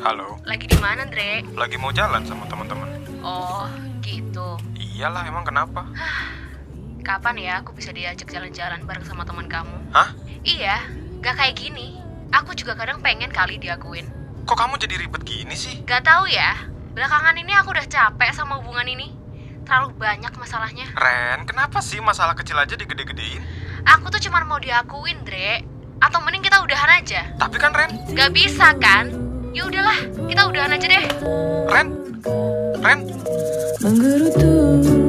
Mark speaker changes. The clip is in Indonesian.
Speaker 1: Halo,
Speaker 2: Lagi di mana, Dre?
Speaker 1: lagi mau jalan sama teman-teman?
Speaker 2: Oh, gitu.
Speaker 1: Iyalah, emang kenapa?
Speaker 2: Kapan ya aku bisa diajak jalan-jalan bareng sama teman kamu?
Speaker 1: Hah?
Speaker 2: Iya, gak kayak gini. Aku juga kadang pengen kali diakuin.
Speaker 1: Kok kamu jadi ribet gini sih?
Speaker 2: Gak tahu ya, belakangan ini aku udah capek sama hubungan ini. Terlalu banyak masalahnya.
Speaker 1: Ren, kenapa sih masalah kecil aja digede-gedein?
Speaker 2: Aku tuh cuma mau diakuin, Dre. Atau mending kita udahan aja.
Speaker 1: Tapi kan Ren,
Speaker 2: Gak bisa kan? Ya udahlah, kita udahan aja deh.
Speaker 1: Ren, Ren,
Speaker 3: menggerutu